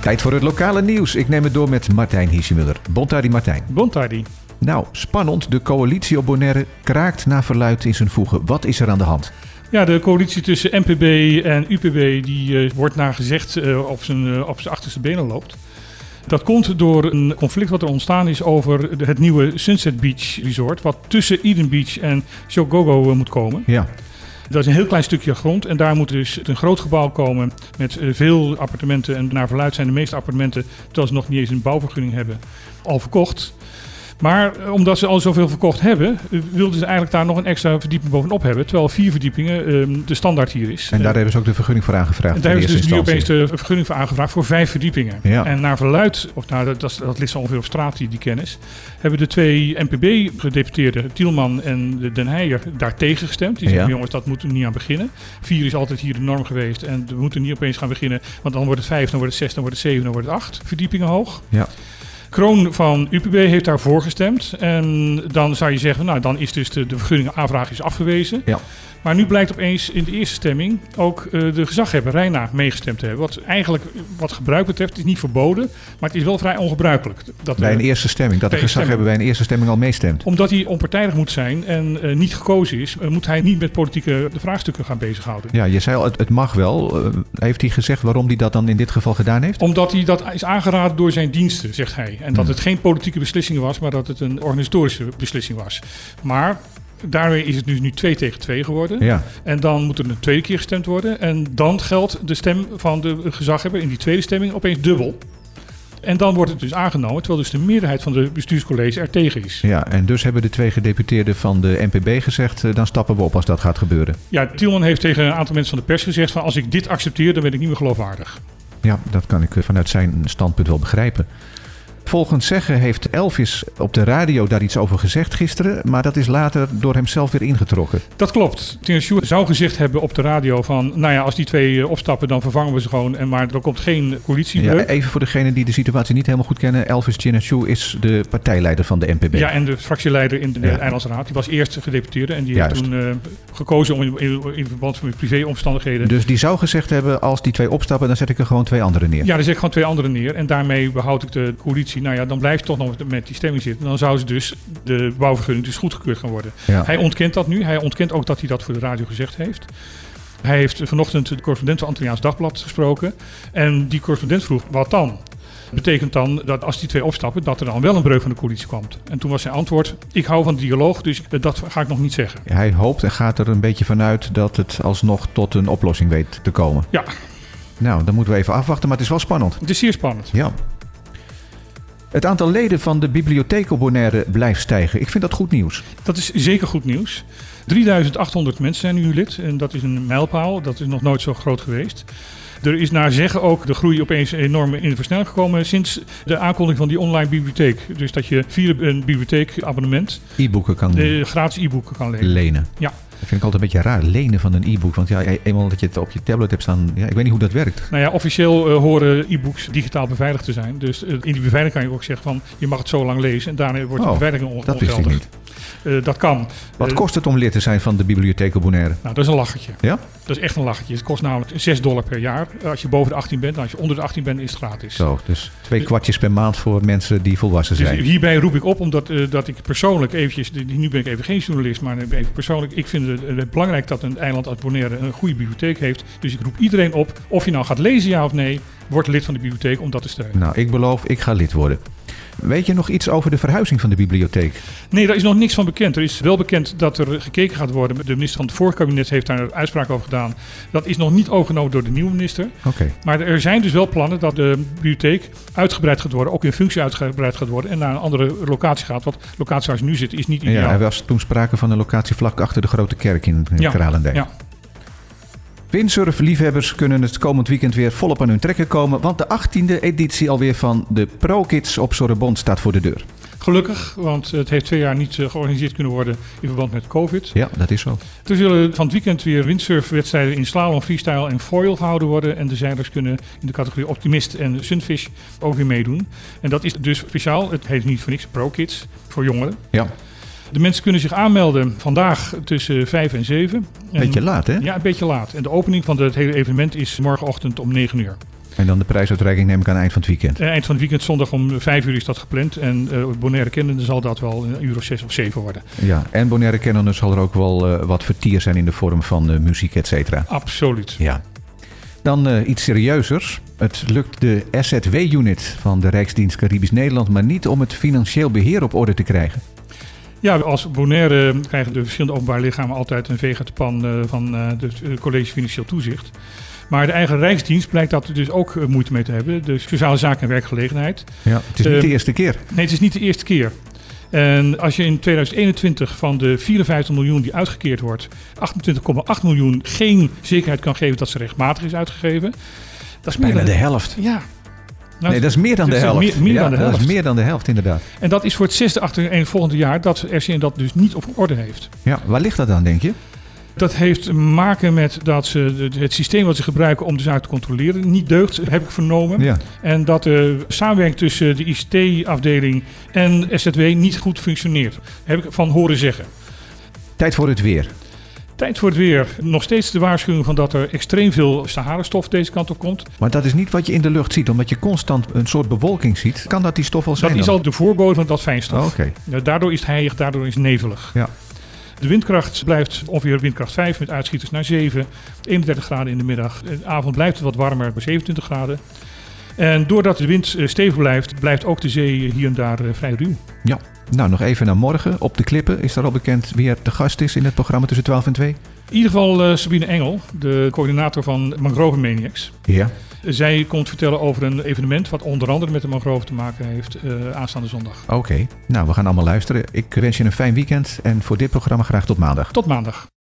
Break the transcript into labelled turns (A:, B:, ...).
A: Tijd voor het lokale nieuws. Ik neem het door met Martijn Hiesemuller. Bontari Martijn.
B: Bontari.
A: Nou, spannend. De coalitie op Bonaire kraakt naar verluid in zijn voegen. Wat is er aan de hand?
B: Ja, de coalitie tussen NPB en UPB die eh, wordt naar gezegd eh, op, zijn, eh, op zijn achterste benen loopt. Dat komt door een conflict wat er ontstaan is over de- het nieuwe Sunset Beach Resort, wat tussen Eden Beach en Shogogo eh, moet komen.
A: Ja,
B: Dat is een heel klein stukje grond en daar moet dus een groot gebouw komen met eh, veel appartementen. En naar verluid zijn de meeste appartementen, terwijl ze nog niet eens een bouwvergunning hebben, al verkocht. Maar eh, omdat ze al zoveel verkocht hebben, eh, wilden ze eigenlijk daar nog een extra verdieping bovenop hebben. Terwijl vier verdiepingen eh, de standaard hier is.
A: en daar
B: Eh,
A: hebben ze ook de vergunning voor aangevraagd.
B: en daar
A: in
B: hebben ze dus
A: eerste
B: nu opeens
A: instantie.
B: de vergunning voor aangevraagd voor vijf verdiepingen.
A: Ja.
B: En naar verluid, of nou, dat, dat, dat ligt zo ongeveer op straat, die, die kennis, hebben de twee NPB-gedeputeerden, Tielman en de Den Heijer, daartegen gestemd. Die zeggen,
A: Ja.
B: jongens, dat moeten we niet aan beginnen. Vier is altijd hier de norm geweest en we moeten niet opeens gaan beginnen, want dan wordt het vijf, dan wordt het zes, dan wordt het zeven, dan wordt het acht verdiepingen hoog.
A: Ja.
B: Kroon van UPB heeft daarvoor gestemd. En dan zou je zeggen, nou dan is dus de, de vergunningaanvraag is afgewezen.
A: Ja.
B: Maar nu blijkt opeens in de eerste stemming ook eh, de gezaghebber Reina meegestemd te hebben. Wat eigenlijk eh, wat gebruik betreft het is niet verboden, maar het is wel vrij ongebruikelijk. Dat,
A: Bij
B: er-
A: een eerste stemming. Dat de
B: Bij een
A: gezag hebben bij een eerste stemming al meestemt.
B: omdat hij onpartijdig moet zijn en eh, niet gekozen is, eh, moet hij niet met politieke eh, vraagstukken gaan bezighouden.
A: Ja, je zei al, het, het mag wel. Eh, heeft hij gezegd waarom hij dat dan in dit geval gedaan heeft?
B: Omdat hij dat is aangeraden door zijn diensten, zegt hij. En dat
A: Hmm.
B: het geen politieke beslissing was, maar dat het een organisatorische beslissing was. Maar daarmee is het nu, nu 2 tegen 2 geworden.
A: Ja,
B: En dan moet er een tweede keer gestemd worden. En dan geldt de stem van de gezaghebber in die tweede stemming opeens dubbel. En dan wordt het dus aangenomen, terwijl dus de meerderheid van de bestuurscollege er tegen is.
A: ja. En dus hebben de twee gedeputeerden van de NPB gezegd... eh, dan stappen we op als dat gaat gebeuren.
B: Ja, Tielman heeft tegen een aantal mensen van de pers gezegd van als ik dit accepteer, dan ben ik niet meer geloofwaardig.
A: Ja, dat kan ik eh, vanuit zijn standpunt wel begrijpen. Volgens zeggen heeft Elvis op de radio daar iets over gezegd gisteren... maar dat is later door hemzelf weer ingetrokken.
B: Dat klopt. Tina Sjoerd zou gezegd hebben op de radio van... nou ja, als die twee eh, opstappen, dan vervangen we ze gewoon. En maar er komt geen
A: Ja, eh,
B: coalitiebreuk. Ja,
A: even voor degene die de situatie niet helemaal goed kennen... Elvis Chinachou is de partijleider van de NPB.
B: en de fractieleider in de
A: Ja.
B: Eilandsraad, die was eerst gedeputeerde... en die heeft
A: Juist.
B: toen eh, gekozen om in, in, in verband met privéomstandigheden...
A: Dus die zou gezegd hebben, als die twee opstappen... dan zet ik er gewoon twee anderen neer.
B: ja, er zit gewoon twee anderen neer en daarmee behoud ik de coalitie. Nou ja, dan blijft toch nog met die stemming zitten. Dan zou ze dus de bouwvergunning dus goedgekeurd gaan worden.
A: Ja.
B: Hij ontkent dat nu. Hij ontkent ook dat hij dat voor de radio gezegd heeft. Hij heeft vanochtend de correspondent van Antilliaans Dagblad gesproken. En die correspondent vroeg, wat dan? Betekent dan dat als die twee opstappen, dat er dan wel een breuk van de coalitie komt? En toen was zijn antwoord, ik hou van dialoog, dus dat ga ik nog niet zeggen.
A: Hij hoopt en gaat er een beetje vanuit dat het alsnog tot een oplossing weet te komen.
B: Ja.
A: Nou, dan moeten we even afwachten, maar het is wel spannend.
B: Het is zeer spannend.
A: Ja. Het aantal leden van de bibliotheek op Bonaire blijft stijgen. Ik vind dat goed nieuws.
B: Dat is zeker goed nieuws. 3800 mensen zijn nu lid en dat is een mijlpaal. Dat is nog nooit zo groot geweest. Er is naar zeggen ook de groei opeens enorm in de versnelling gekomen sinds de aankondiging van die online bibliotheek. Dus dat je via een bibliotheekabonnement
A: E-boeken kan
B: de gratis e-boeken kan lenen.
A: lenen.
B: Ja.
A: Dat vind ik altijd een beetje raar, lenen van een e-book. Want ja, e- eenmaal dat je het op je tablet hebt staan, ja, ik weet niet hoe dat werkt.
B: Nou ja, officieel eh, horen e-books digitaal beveiligd te zijn. Dus eh, in die beveiliging kan je ook zeggen van je mag het zo lang lezen en daarna wordt de
A: Oh,
B: beveiliging on-
A: Dat wist ik
B: ongeldig.
A: niet.
B: Eh, dat kan.
A: Wat
B: Eh,
A: kost het om lid te zijn van de bibliotheek op Bonaire?
B: Nou, dat is een lachertje.
A: Ja?
B: Dat is echt een lachertje. Het kost namelijk 6 dollar per jaar eh, als je boven de 18 bent. En als je onder de 18 bent, is het gratis.
A: Zo, dus twee kwartjes per maand voor mensen die volwassen
B: Dus
A: zijn.
B: hierbij roep ik op, omdat eh, dat ik persoonlijk eventjes, nu ben ik even geen journalist, maar even persoonlijk, ik vind het eh, belangrijk dat een eiland als Bonaire een goede bibliotheek heeft. Dus ik roep iedereen op, of je nou gaat lezen ja of nee, word lid van de bibliotheek om dat te steunen.
A: Nou, ik beloof, ik ga lid worden. Weet je nog iets over de verhuizing van de bibliotheek?
B: Nee, daar is nog niks van bekend. Er is wel bekend dat er gekeken gaat worden. De minister van het vorige kabinet heeft daar een uitspraak over gedaan. Dat is nog niet overgenomen door de nieuwe minister.
A: Oké.
B: Maar er zijn dus wel plannen dat de bibliotheek uitgebreid gaat worden, ook in functie uitgebreid gaat worden en naar een andere locatie gaat. Want de locatie waar ze nu zit is niet
A: Ja,
B: ideaal.
A: er was toen sprake van een locatie vlak achter de grote kerk in eh,
B: Ja,
A: Kralendijk.
B: ja.
A: Windsurfliefhebbers kunnen het komend weekend weer volop aan hun trekken komen, want de 18e editie alweer van de Pro Kids op Sorbonne staat voor de deur.
B: Gelukkig, want het heeft twee jaar niet eh, georganiseerd kunnen worden in verband met COVID.
A: Ja, dat is zo.
B: Er zullen van het weekend weer windsurfwedstrijden in slalom, freestyle en foil gehouden worden. En de zeilers kunnen in de categorie optimist en sunfish ook weer meedoen. En dat is dus speciaal, het heet niet voor niks, pro-kids, voor jongeren.
A: Ja.
B: De mensen kunnen zich aanmelden vandaag tussen 5 en 7. En-
A: Beetje laat, hè?
B: Ja, een beetje laat. En de opening van het hele evenement is morgenochtend om 9 uur.
A: En dan de prijsuitreiking neem ik aan eind van het weekend.
B: Eh, Eind van het weekend, zondag om 5 uur is dat gepland. En eh Bonaire kennende zal dat wel een uur of 6 of 7 worden.
A: Ja, en Bonaire Kennende zal er ook wel eh, wat vertier zijn in de vorm van eh, muziek, et cetera.
B: Absoluut.
A: Ja. Dan eh, iets serieuzers. Het lukt de SZW-unit van de Rijksdienst Caribisch Nederland... maar niet om het financieel beheer op orde te krijgen.
B: Ja, als Bonaire eh, krijgen de verschillende openbare lichamen altijd een veeg uit de pan eh, van eh, het eh, College Financieel Toezicht. Maar de eigen Rijksdienst blijkt dat dus ook eh, moeite mee te hebben. De Sociale Zaken en Werkgelegenheid.
A: Ja. Het is niet
B: Eh,
A: de eerste keer.
B: Nee, het is niet de eerste keer. En als je in 2021 van de 54 miljoen die uitgekeerd wordt, 28,8 miljoen geen zekerheid kan geven dat ze rechtmatig is uitgegeven. Dat is meer
A: Bijna
B: dan-
A: de helft.
B: Ja. Nou,
A: Nee, dat is meer dan de
B: dat is
A: helft.
B: meer- meer
A: Ja,
B: dan de
A: Dat is
B: helft.
A: meer dan de helft, inderdaad.
B: En dat is voor het zesde achter volgende jaar dat RCN dat dus niet op orde heeft.
A: Ja, waar ligt dat aan, denk je?
B: Dat heeft te maken met dat ze het systeem wat ze gebruiken om de zaak te controleren niet deugt, heb ik vernomen.
A: Ja.
B: En dat de samenwerking tussen de ICT-afdeling en SZW niet goed functioneert. Heb ik van horen zeggen.
A: Tijd voor het weer.
B: Tijd voor het weer. Nog steeds de waarschuwing van dat er extreem veel Sahara-stof deze kant op komt.
A: Maar dat is niet wat je in de lucht ziet, omdat je constant een soort bewolking ziet. Kan dat die stof al zijn?
B: Dat is
A: dan?
B: al de voorbode van dat fijnstof.
A: Oh, Oké.
B: Ja, Daardoor is het heilig, daardoor is het nevelig.
A: Ja.
B: De windkracht blijft ongeveer windkracht 5 met uitschieters naar 7. 31 graden in de middag. De avond blijft het wat warmer bij 27 graden. En doordat de wind eh, stevig blijft, blijft ook de zee hier en daar eh, vrij ruw.
A: Nou, nog even naar morgen. Op de klippen is daar al bekend wie er te gast is in het programma tussen 12 en 2.
B: In ieder geval eh, Sabine Engel, de coördinator van Mangrove Maniacs. eh,
A: Ja.
B: Zij komt vertellen over een evenement wat onder andere met de mangrove te maken heeft eh, aanstaande zondag.
A: Oké. Nou, we gaan allemaal luisteren. Ik wens je een fijn weekend en voor dit programma graag tot maandag.
B: Tot maandag.